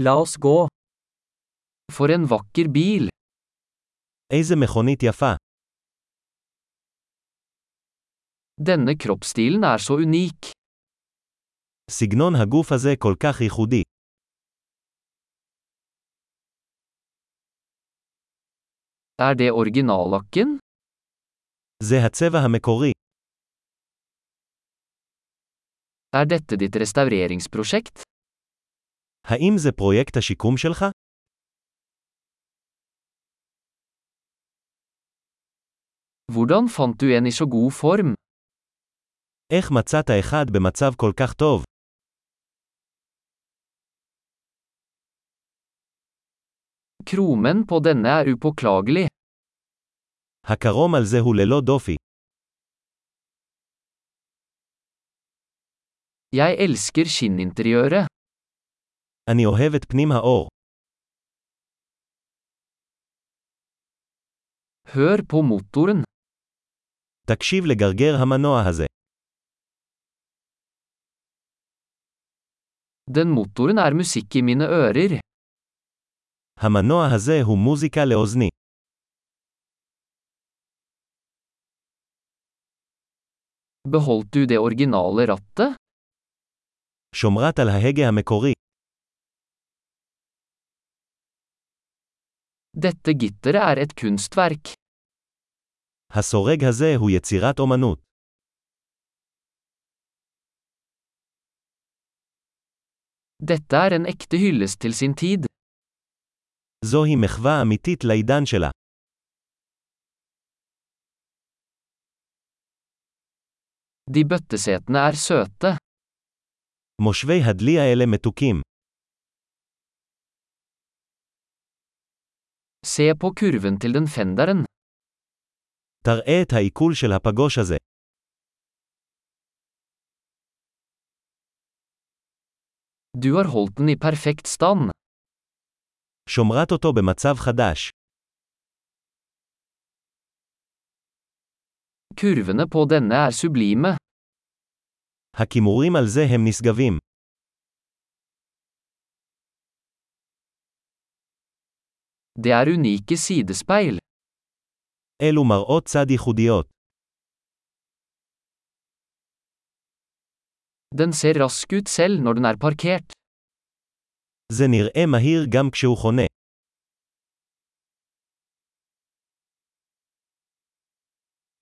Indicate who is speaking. Speaker 1: La oss gå. For en vakker bil.
Speaker 2: איזה מכונית יפה.
Speaker 1: Denne kroppsstilen er så unik.
Speaker 2: סגנון הגוף הזה כל כך ייחודי.
Speaker 1: Er det originallakken?
Speaker 2: זה הצבע המקורי.
Speaker 1: Er dette ditt restaureringsprosjekt?
Speaker 2: האם זה פרויקט השיקום שלך?
Speaker 1: Hvordan fant du en i så god form?
Speaker 2: איך מצאת אחד במצב כל כך טוב?
Speaker 1: Kromen på denne er upåklagelig.
Speaker 2: הקרום על זה הוא ללא דופי.
Speaker 1: Jeg elsker skinninteriøret.
Speaker 2: אני אוהב את פנים האור.
Speaker 1: Hør på motoren.
Speaker 2: תקשיב לגרגר המנוע הזה.
Speaker 1: Den motoren er musikk i mine ører.
Speaker 2: המנוע הזה הוא מוזיקה לאוזני.
Speaker 1: Beholdt du det originale rattet?
Speaker 2: שומרת על ההגה המקורי.
Speaker 1: Dette gitteret er et kunstverk.
Speaker 2: הסורג הזה הוא יצירת אומנות.
Speaker 1: Dette er en ekte hyllest til sin tid.
Speaker 2: זוהי מחווה אמיתית לעידן שלה.
Speaker 1: De bøttesetene er søte.
Speaker 2: מושבי הדלי האלה מתוקים.
Speaker 1: Se på kurven til den fenderen.
Speaker 2: תראה את העיכול של הפגוש הזה.
Speaker 1: Du har holdt den i perfekt stand.
Speaker 2: שומרת אותו במצב חדש.
Speaker 1: Kurvene på denne er sublime.
Speaker 2: הכימורים על זה הם נשגבים.
Speaker 1: Det er unike sidespeil.
Speaker 2: אלו מראות צד ייחודיות.
Speaker 1: Den ser rask ut selv når den er parkert.
Speaker 2: זה נראה מהיר גם כשהוא חונה.